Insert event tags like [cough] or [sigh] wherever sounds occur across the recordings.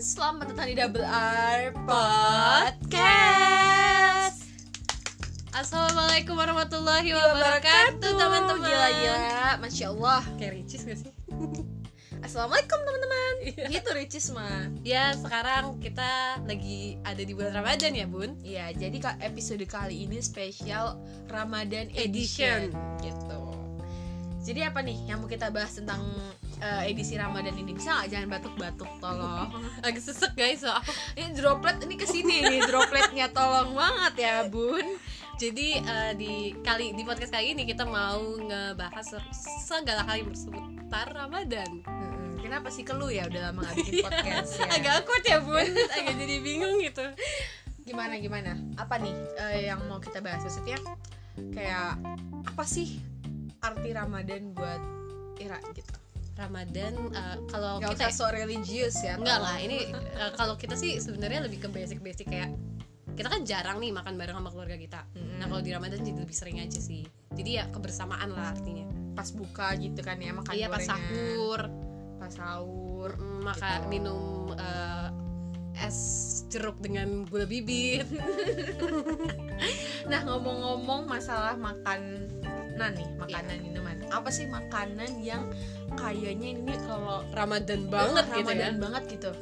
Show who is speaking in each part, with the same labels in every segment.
Speaker 1: di Double R Podcast. Iya,
Speaker 2: Assalamualaikum warahmatullahi
Speaker 1: Wabarakatuh
Speaker 2: wabarakatuh teman-teman
Speaker 1: Gila gila Masya Allah
Speaker 2: Kayak ricis gak sih?
Speaker 1: Assalamualaikum teman-teman Gitu Ricis mah
Speaker 2: Ya sekarang kita lagi ada di bulan Ramadan ya bun
Speaker 1: Iya jadi ka- episode kali ini spesial Ramadan
Speaker 2: Edition.
Speaker 1: Edition, Gitu Jadi apa nih yang mau kita bahas tentang eh, edisi Ramadan ini Bisa gak jangan batuk-batuk tolong [laughs]
Speaker 2: Agak sesek guys so.
Speaker 1: Ini droplet ini kesini nih dropletnya tolong banget ya bun
Speaker 2: Jadi eh, di kali di podcast kali ini kita mau ngebahas se- segala hal yang berseputar Ramadan
Speaker 1: Mm-mm. Kenapa sih keluh ya udah lama gak bikin podcast ya
Speaker 2: Iya. [laughs] Agak awkward ya bun, agak jadi bingung gitu
Speaker 1: gimana gimana apa nih eh, yang mau kita bahas maksudnya kayak apa sih arti Ramadan buat Ira gitu
Speaker 2: Ramadan eh, kalau
Speaker 1: nggak
Speaker 2: kita
Speaker 1: usah so religius ya
Speaker 2: Enggak
Speaker 1: tolong.
Speaker 2: lah, ini eh, kalau kita sih sebenarnya lebih ke basic-basic kayak kita kan jarang nih makan bareng sama keluarga kita.
Speaker 1: Mm-mm.
Speaker 2: Nah, kalau di Ramadan jadi lebih sering aja sih. Jadi ya kebersamaan lah artinya.
Speaker 1: pas buka gitu kan ya makan
Speaker 2: iya, pas
Speaker 1: gorengan,
Speaker 2: sahur,
Speaker 1: pas sahur
Speaker 2: mm, makan
Speaker 1: Gitu.
Speaker 2: minum eh, es jeruk dengan gula bibit.
Speaker 1: [laughs] nah ngomong-ngomong masalah makanan nih makanan
Speaker 2: Iya.
Speaker 1: minuman apa sih makanan yang kayaknya ini kalau
Speaker 2: Ramadan banget gitu ya.
Speaker 1: Ramadan banget gitu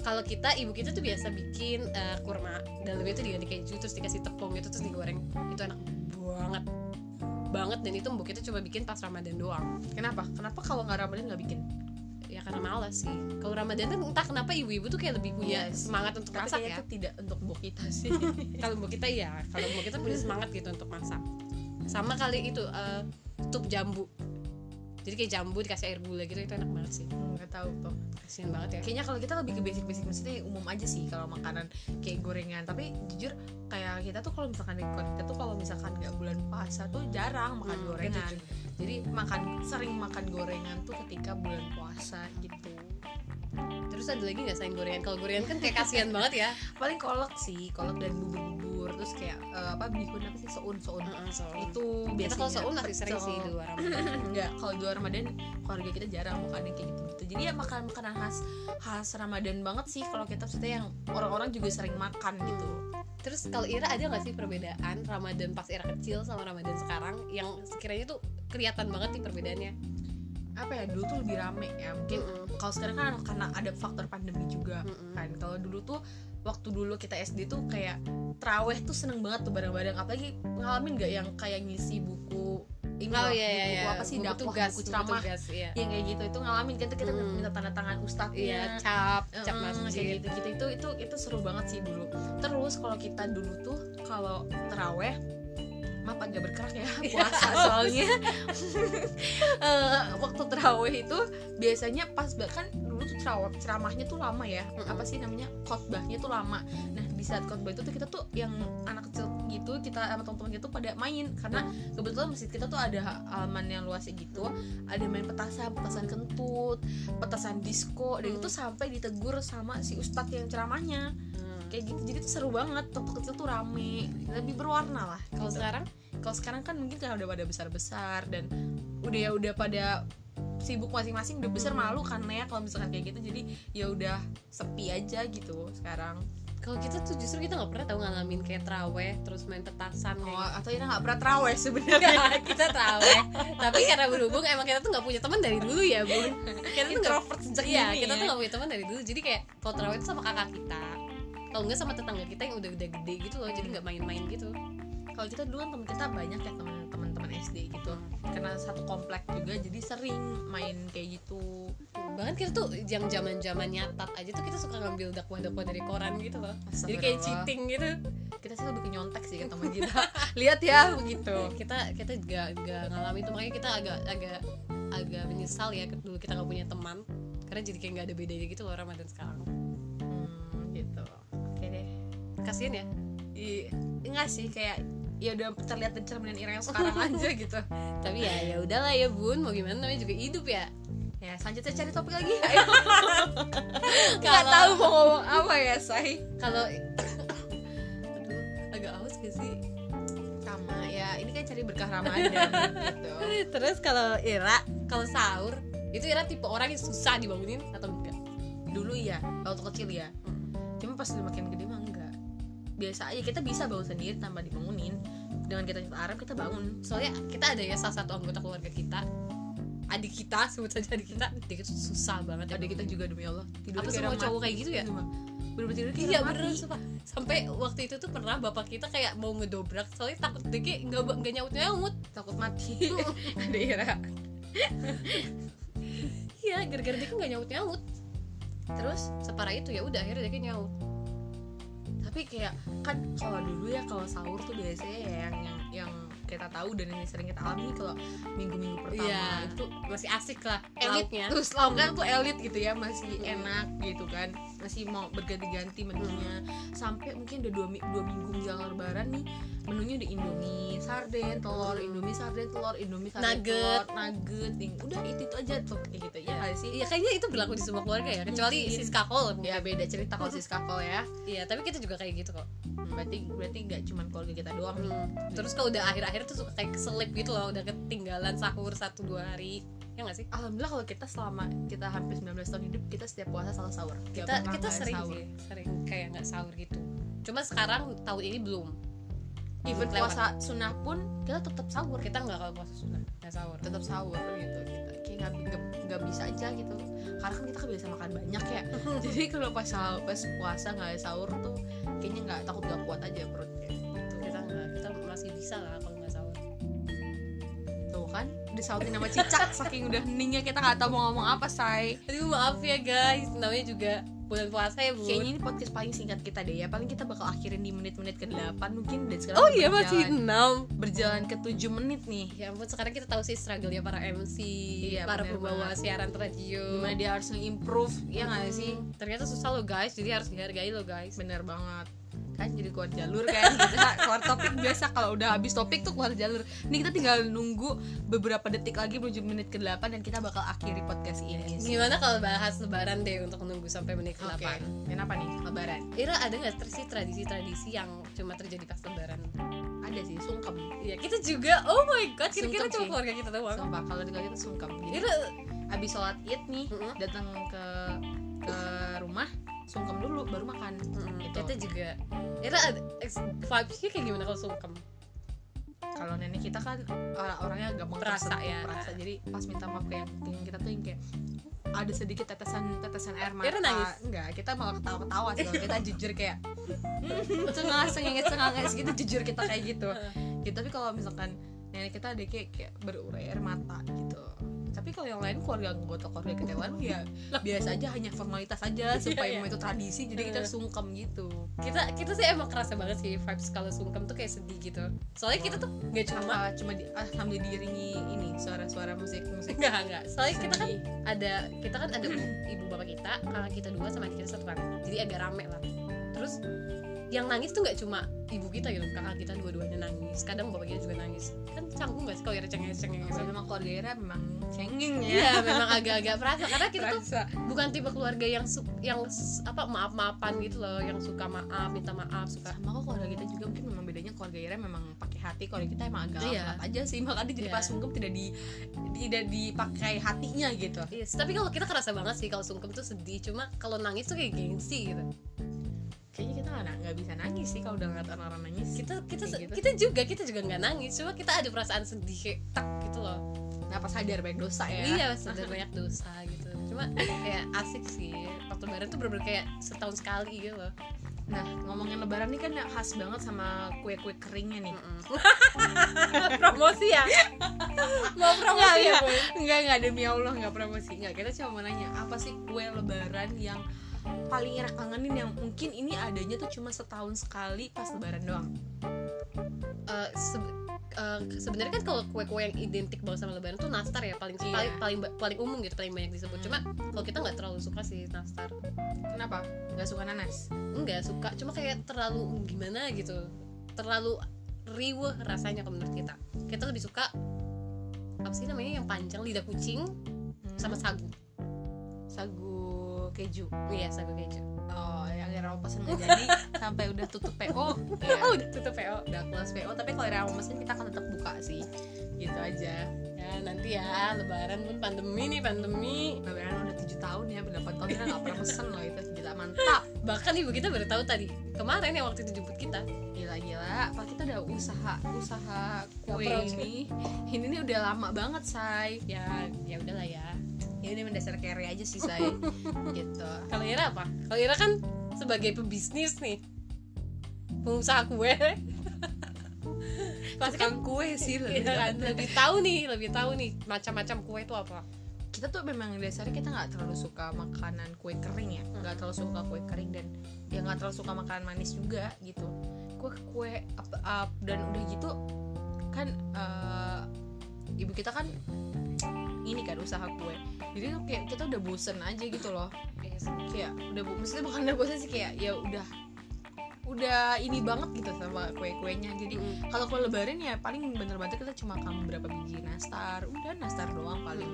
Speaker 2: Kalau kita ibu kita tuh biasa bikin eh, kurma dalamnya itu diganti keju terus dikasih tepung itu terus digoreng. Itu enak banget banget dan itu mbok kita cuma bikin pas Ramadan doang.
Speaker 1: kenapa kenapa kalau nggak Ramadan nggak bikin
Speaker 2: ya karena malas sih kalau ramadan kan entah kenapa ibu-ibu tuh kayak lebih punya
Speaker 1: Iya sih.
Speaker 2: semangat untuk
Speaker 1: tapi
Speaker 2: masak
Speaker 1: kayaknya
Speaker 2: ya
Speaker 1: itu tidak untuk mbok kita [laughs] sih
Speaker 2: kalau mau kita ya kalau mau kita punya semangat gitu untuk masak sama kali itu eh, tup jambu jadi kayak jambu dikasih air gula gitu itu enak banget sih
Speaker 1: nggak tahu tuh
Speaker 2: kasian banget ya
Speaker 1: kayaknya kalau kita lebih ke basic-basic maksudnya umum aja sih kalau makanan kayak gorengan tapi jujur kayak kita tuh kalau misalkan di kita tuh kalau misalkan nggak bulan puasa tuh jarang makan
Speaker 2: Hmm,
Speaker 1: gorengan
Speaker 2: gitu.
Speaker 1: jadi makan sering makan gorengan tuh ketika bulan puasa gitu
Speaker 2: terus ada lagi nggak selain gorengan kalau gorengan kan kayak kasihan banget ya
Speaker 1: [laughs] paling kolak sih kolak dan bubur-bubur terus kayak eh, apa bihun apa sih soun soun
Speaker 2: itu
Speaker 1: itu
Speaker 2: kita
Speaker 1: biasanya
Speaker 2: kalau seun masih sering sih di luar ramadan
Speaker 1: Enggak, kalau di luar Ramadan keluarga kita jarang makan yang kayak gitu-gitu. Jadi ya makanan-makanan khas khas Ramadan banget sih kalau kita maksudnya yang orang-orang juga sering makan gitu.
Speaker 2: terus kalau Ira ada nggak sih perbedaan ramadan pas Ira kecil sama ramadan sekarang yang sekiranya tuh kelihatan banget nih perbedaannya
Speaker 1: Apa ya dulu tuh lebih rame ya mungkin.
Speaker 2: Mm-mm.
Speaker 1: Kalau sekarang kan karena ada faktor pandemi juga
Speaker 2: Mm-mm.
Speaker 1: kan. Kalau dulu tuh waktu dulu kita SD tuh kayak traweh tuh seneng banget tuh bareng-bareng. Apalagi ngalamin nggak yang kayak ngisi buku ini
Speaker 2: Oh
Speaker 1: loh,
Speaker 2: iya iya
Speaker 1: buku
Speaker 2: iya.
Speaker 1: apa sih
Speaker 2: Buku
Speaker 1: dakwah
Speaker 2: tugas,
Speaker 1: buku
Speaker 2: buku
Speaker 1: ceramah
Speaker 2: tugas, iya.
Speaker 1: yang kayak gitu itu ngalamin kan tuh kita
Speaker 2: Hmm.
Speaker 1: minta tanda tangan
Speaker 2: Iya,
Speaker 1: ustadznya
Speaker 2: cap, cap
Speaker 1: Mm,
Speaker 2: masjid.
Speaker 1: kayak gitu gitu itu itu itu seru banget sih dulu terus kalau kita dulu tuh kalau teraweh maaf agak berkerak ya puasa soalnya [laughs] Eh, waktu teraweh itu biasanya pas bahkan dulu tuh teraweh ceramahnya tuh lama ya
Speaker 2: Mm-mm.
Speaker 1: apa sih namanya khotbahnya tuh lama nah di saat khotbah itu tuh kita tuh yang anak kecil gitu kita sama teman-teman gitu pada main karena kebetulan masjid kita tuh ada halaman yang luasnya gitu ada main petasan petasan kentut petasan disco dan
Speaker 2: Hmm.
Speaker 1: itu sampai ditegur sama si ustadz yang ceramahnya
Speaker 2: Hmm.
Speaker 1: kayak gitu jadi itu seru banget waktu kecil tuh rame lebih berwarna lah
Speaker 2: Kalau
Speaker 1: gitu.
Speaker 2: sekarang
Speaker 1: kalau sekarang kan mungkin karena udah pada besar besar dan udah ya udah pada sibuk masing-masing udah besar
Speaker 2: Hmm.
Speaker 1: malu kan ya kalau misalkan kayak gitu jadi ya udah sepi aja gitu sekarang
Speaker 2: kalau kita tuh justru kita nggak pernah tahu ngalamin kayak traweh terus main petasan
Speaker 1: oh,
Speaker 2: kayak gitu.
Speaker 1: atau ini nggak pernah teraweh sebenarnya
Speaker 2: Nggak, kita traweh tapi karena berhubung emang kita tuh nggak punya teman dari dulu ya bun [laughs] kita tuh nggak
Speaker 1: introvert sejak
Speaker 2: iya
Speaker 1: dini
Speaker 2: kita
Speaker 1: ya.
Speaker 2: tuh nggak punya teman dari dulu jadi kayak kalau traweh itu sama kakak kita kalau nggak sama tetangga kita yang udah udah gede gitu loh jadi nggak main-main gitu
Speaker 1: kalau kita dulu kan teman kita banyak ya teman teman-teman SD gitu karena satu komplek juga jadi sering main kayak gitu
Speaker 2: bahkan kita tuh yang zaman zaman nyatat aja tuh kita suka ngambil dakwah dakwah dari koran gitu loh jadi kayak
Speaker 1: Astagfirullah.
Speaker 2: cheating gitu
Speaker 1: kita sih lebih ke nyontek sih ke teman kita lihat ya begitu
Speaker 2: kita kita gak, gak ngalami itu makanya kita agak agak agak menyesal ya dulu kita nggak punya teman karena jadi kayak nggak ada bedanya gitu loh Ramadan sekarang
Speaker 1: hmm, gitu oke deh
Speaker 2: kasian ya
Speaker 1: I, enggak sih kayak ya udah terlihat dari cerminan Ira yang [laughs] sekarang aja gitu
Speaker 2: tapi ya ya udahlah ya bun mau gimana namanya juga hidup ya
Speaker 1: ya selanjutnya cari topik lagi ayo [laughs] nggak
Speaker 2: Kalau-
Speaker 1: tahu mau ngomong apa ya say
Speaker 2: kalau aduh agak aus gak sih
Speaker 1: sama ya ini kan cari berkah Ramadan gitu
Speaker 2: Eh, terus kalau Ira kalau sahur itu Ira tipe orang yang susah dibangunin atau enggak
Speaker 1: dulu ya waktu kecil ya pas udah makin gede mah enggak biasa aja kita bisa bangun sendiri tanpa dibangunin dengan kita cinta Arab kita bangun
Speaker 2: soalnya kita ada ya salah satu anggota keluarga kita adik kita sebut saja adik kita dia itu susah banget ya
Speaker 1: ada kita
Speaker 2: bangun.
Speaker 1: juga demi Allah tidur
Speaker 2: apa
Speaker 1: kayak
Speaker 2: semua
Speaker 1: orang
Speaker 2: cowok
Speaker 1: mati.
Speaker 2: kayak gitu ya
Speaker 1: Cuma bener-bener tidur kayak
Speaker 2: Iya
Speaker 1: orang
Speaker 2: bener
Speaker 1: mati.
Speaker 2: sumpah. Sampai waktu itu tuh pernah bapak kita kayak mau ngedobrak Soalnya takut dia kayak nggak nggak nyaut nyaut
Speaker 1: takut mati [laughs] ada Ira
Speaker 2: Iya gara-gara dia nggak nyaut nyaut
Speaker 1: terus
Speaker 2: Separah itu ya udah akhirnya dia kayak nyaut
Speaker 1: tapi kayak kan kalau dulu ya kalau sahur tuh biasanya ya yang yang, yang kita tahu dan yang sering kita alami kalau minggu-minggu pertama
Speaker 2: Iya.
Speaker 1: itu
Speaker 2: Masih asik lah
Speaker 1: elitnya
Speaker 2: elitnya
Speaker 1: terus lauk kan tuh elit gitu ya masih
Speaker 2: Hmm.
Speaker 1: enak gitu kan masih mau berganti-ganti menunya
Speaker 2: Hmm.
Speaker 1: sampai mungkin udah dua, mi- dua minggu menjelang lebaran nih menunya udah indomie sarden telur
Speaker 2: Hmm.
Speaker 1: indomie sarden telur indomie sarden
Speaker 2: Nugget.
Speaker 1: telur nugget Ting. udah itu itu aja tuh kayak gitu ya nggak sih
Speaker 2: Iya kayaknya itu berlaku di semua keluarga ya Kecuali
Speaker 1: Mungkin.
Speaker 2: Siska Kol
Speaker 1: ya beda cerita kalau
Speaker 2: [laughs]
Speaker 1: siska kalau ya
Speaker 2: Iya tapi kita juga kayak gitu kok
Speaker 1: Hmm, berarti berarti nggak cuma keluarga kita doang nih
Speaker 2: Terus kalau udah akhir-akhir tuh suka kayak keselip gitu loh Udah ketinggalan sahur satu dua hari Ya nggak sih?
Speaker 1: Alhamdulillah kalau kita selama kita hampir 19 tahun hidup kita setiap puasa selalu sahur. Nggak
Speaker 2: kita
Speaker 1: pernah
Speaker 2: kita
Speaker 1: nggak
Speaker 2: sering
Speaker 1: sahur.
Speaker 2: sih sering kayak nggak sahur gitu cuma sekarang tahun ini belum
Speaker 1: Even
Speaker 2: Lewat.
Speaker 1: puasa sunnah pun kita tetap sahur,
Speaker 2: kita nggak kalau puasa sunnah nggak sahur
Speaker 1: tetap sahur gitu kita kayak nggak nggak- nggak bisa aja gitu. Karena kan kita kebiasaan makan banyak
Speaker 2: [laughs]
Speaker 1: ya. Jadi kalau pas sahur- pas puasa nggak sahur tuh kayaknya nggak takut nggak kuat aja perutnya. Gitu.
Speaker 2: kita nggak kita masih bisa lah kalau nggak sahur
Speaker 1: Tuh kan disautin sama
Speaker 2: [laughs]
Speaker 1: cicak saking udah heningnya kita nggak tahu mau ngomong apa say.
Speaker 2: aduh maaf ya guys namanya juga bulan puasa ya bu
Speaker 1: Kayaknya ini podcast paling singkat kita deh ya. Paling kita bakal akhirin di menit-menit ke-8 mungkin dan sekarang
Speaker 2: oh iya
Speaker 1: berjalan-
Speaker 2: masih enam
Speaker 1: berjalan ke 7 menit nih.
Speaker 2: ya ampun sekarang kita tahu sih struggle ya para MC
Speaker 1: Iya,
Speaker 2: para
Speaker 1: bener
Speaker 2: pembawa
Speaker 1: banget.
Speaker 2: siaran radio
Speaker 1: gimana dia harus nge-improve ya
Speaker 2: Hmm.
Speaker 1: nggak sih
Speaker 2: ternyata susah loh guys jadi harus dihargai loh guys
Speaker 1: bener banget kan jadi keluar jalur kan [laughs] kita keluar topik biasa kalau udah habis topik tuh keluar jalur ini kita tinggal nunggu beberapa detik lagi menuju menit ke 8 dan kita bakal akhiri podcast ini
Speaker 2: gimana kalau bahas lebaran deh untuk nunggu sampai menit ke
Speaker 1: Oke,
Speaker 2: delapan
Speaker 1: kenapa nih lebaran
Speaker 2: Ira ada nggak sih tradisi-tradisi yang cuma terjadi pas lebaran?
Speaker 1: ada sih sungkem
Speaker 2: Iya kita juga. Oh my god,
Speaker 1: Sungkem
Speaker 2: kira-kira cuma
Speaker 1: sih.
Speaker 2: keluarga kita doang.
Speaker 1: sumpah kalau di kita sungkem jadi
Speaker 2: Ira mm,
Speaker 1: abis sholat id nih
Speaker 2: Iya. Mm-mm.
Speaker 1: datang ke ke rumah sungkem dulu baru makan gitu.
Speaker 2: kita juga. Ira ada- ex- vibes-nya kayak gimana kalau sungkem?
Speaker 1: kalau nenek kita kan uh, orangnya gampang
Speaker 2: Perasa
Speaker 1: tersentuh,
Speaker 2: ya.
Speaker 1: perasa jadi pas minta maaf ke yang, ke yang kita tuh yang kayak ada sedikit tetesan tetesan air mata
Speaker 2: Kira nangis?
Speaker 1: enggak kita malah ketawa ketawa sih kalau kita jujur kayak "Hmm, cengang cengenges cengenges gitu jujur kita kayak gitu gitu tapi kalau misalkan nenek kita ada kayak, kayak berurai air mata gitu tapi kalau yang lain keluarga anggota keluarga kita yang lain ya biasa aja hanya formalitas aja
Speaker 2: Iya,
Speaker 1: supaya
Speaker 2: iya.
Speaker 1: emang itu tradisi jadi kita sungkem gitu
Speaker 2: Kita kita sih emang kerasa banget sih vibes kalau sungkem tuh kayak sedih gitu. Soalnya kita tuh nggak cuma [laughs]
Speaker 1: cuma cuma di, ah, sambil diiringi ini suara-suara musik musik
Speaker 2: nggak nggak. Soalnya kita kan
Speaker 1: Iya,
Speaker 2: ada kita kan
Speaker 1: [clears throat]
Speaker 2: ada ibu bapak kita, kakak kita dua sama adik kita satu kan. Jadi agak rame lah. Terus yang nangis tuh nggak cuma ibu kita gitu, kakak kita dua-duanya nangis. Kadang bapak kita juga nangis. Kan canggung gak sih kalau Ira cengeng-cengeng gitu?
Speaker 1: Kalau memang keluarga Ira memang cengeng ya.
Speaker 2: Iya, memang agak-agak perasa karena kita tuh
Speaker 1: Terasa.
Speaker 2: bukan tipe keluarga yang su- yang s- apa maaf-maafan gitu loh, yang suka maaf, minta maaf, suka
Speaker 1: Sama kok keluarga kita juga mungkin memang bedanya keluarga Ira memang pakai hati. Kalau kita emang agak
Speaker 2: Iya.
Speaker 1: lama aja sih makanya jadi
Speaker 2: Iya.
Speaker 1: pas sungkem tidak di tidak dipakai hatinya gitu.
Speaker 2: Yes, tapi kalau kita kerasa banget sih kalau sungkem tuh sedih, cuma kalau nangis tuh kayak gengsi gitu.
Speaker 1: Kayaknya kita nggak nggak bisa nangis sih kalau udah ngeliat orang-orang nangis.
Speaker 2: Kita kita se-
Speaker 1: Kayak gitu.
Speaker 2: kita juga kita juga nggak nangis, cuma kita ada perasaan sedih kayak tak gitu loh.
Speaker 1: Nah pas sadar banyak dosa ya.
Speaker 2: Iya, sedih [laughs] banyak dosa gitu. Cuma kayak asik sih. Waktu lebaran tuh bener-bener kayak setahun sekali gitu loh.
Speaker 1: Nah ngomongin Lebaran nih kan khas banget sama kue-kue keringnya
Speaker 2: Iya.
Speaker 1: nih.
Speaker 2: [laughs] promosi ya. [laughs] Mau promosi ya,
Speaker 1: Nggak,
Speaker 2: Bu?
Speaker 1: Enggak enggak demi Allah nggak promosi. Enggak kita cuma mau nanya apa sih kue Lebaran yang paling Ira kangenin yang mungkin ini adanya tuh cuma setahun sekali pas Lebaran doang.
Speaker 2: Eh, se- eh, sebenarnya kan kalau kue-kue yang identik banget sama lebaran tuh nastar ya paling
Speaker 1: Iya.
Speaker 2: paling paling ba- paling umum gitu paling banyak disebut
Speaker 1: Hmm.
Speaker 2: cuma kalau kita nggak terlalu suka sih nastar
Speaker 1: Kenapa? Gak suka nanas?
Speaker 2: nggak suka cuma kayak terlalu gimana gitu terlalu riweh rasanya kalau menurut kita kita lebih suka apa sih namanya yang panjang lidah kucing sama
Speaker 1: Sama
Speaker 2: sagu
Speaker 1: sagu keju.
Speaker 2: iya sagu keju
Speaker 1: Oh, yang Ira mau pesen nggak jadi sampai udah tutup PO. Ya,
Speaker 2: [laughs] oh tutup po
Speaker 1: udah close PO. Tapi kalau Ira mau pesen kita akan tetap buka sih. Gitu aja.
Speaker 2: ya nanti nanti ya lebaran pun pandemi nih pandemi
Speaker 1: Lebaran udah 7 tahun ya, udah 8 tahun kita gak pernah pesen loh itu Gila, mantap
Speaker 2: bahkan ibu kita baru tahu tadi kemarin yang waktu itu jemput kita
Speaker 1: Gila-gila, Pak kita udah usaha Usaha kue
Speaker 2: pernah
Speaker 1: ini Ini nih udah lama banget, Say
Speaker 2: ya ya udahlah ya
Speaker 1: Ya ini mendasar carry aja sih, Say Gitu
Speaker 2: kalau Ira apa kalau Ira kan sebagai pebisnis nih pengusaha [laughs] kue pasti kan
Speaker 1: Tukang kue sih lebih
Speaker 2: Iya kan,
Speaker 1: tepatnya.
Speaker 2: lebih tahu nih lebih tahu nih macam-macam kue itu apa
Speaker 1: kita tuh memang dasarnya kita nggak terlalu suka makanan kue kering ya nggak terlalu suka kue kering dan ya nggak terlalu suka makanan manis juga gitu kue kue up, up dan udah gitu kan eh, ibu kita kan ini kan usaha kue jadi tuh kayak kita udah bosen aja gitu loh
Speaker 2: Iya,
Speaker 1: kayak udah bu maksudnya bukan udah bosen sih kayak ya udah udah ini banget gitu sama kue kuenya jadi kalau kue lebaran ya paling bener-bener kita cuma makan beberapa biji nastar udah nastar doang paling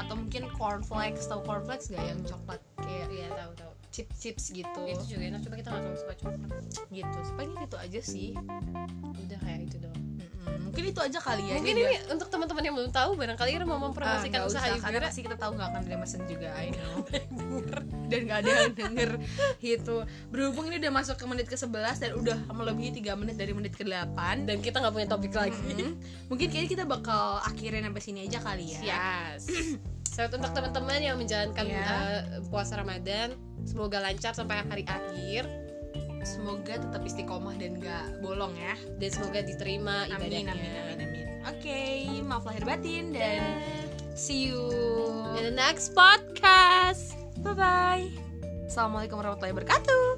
Speaker 1: atau mungkin cornflakes tau cornflakes gak yang coklat kayak
Speaker 2: iya tahu tahu
Speaker 1: chips chips gitu
Speaker 2: itu juga enak coba kita nggak terlalu suka coklat
Speaker 1: gitu paling itu aja sih
Speaker 2: udah kayak itu doang Iya,
Speaker 1: Mm-mm. mungkin itu aja kali ya
Speaker 2: mungkin ini untuk teman-teman yang belum tahu barangkali Ira mau mempromosikan usaha ibu
Speaker 1: Ah, karena
Speaker 2: Ira
Speaker 1: pasti kita tahu nggak akan ada mesen juga I [laughs] know dan nggak ada yang denger gitu berhubung ini udah masuk ke menit ke 11 dan udah melebihi 3 menit dari menit ke 8
Speaker 2: dan kita nggak punya topik lagi
Speaker 1: Mm-mm. mungkin kayaknya kita bakal akhirin sampai sini aja kali ya
Speaker 2: [clears throat] Yes. So, Iya. untuk teman-teman yang menjalankan
Speaker 1: Ya.
Speaker 2: uh, puasa Ramadan, semoga lancar sampai hari akhir
Speaker 1: semoga tetap istiqomah dan gak bolong ya
Speaker 2: dan semoga diterima
Speaker 1: amin
Speaker 2: ibadahnya.
Speaker 1: amin amin amin Iya. oke maaf lahir batin dan See you Iya.
Speaker 2: In the next podcast.
Speaker 1: Bye bye Assalamualaikum warahmatullahi wabarakatuh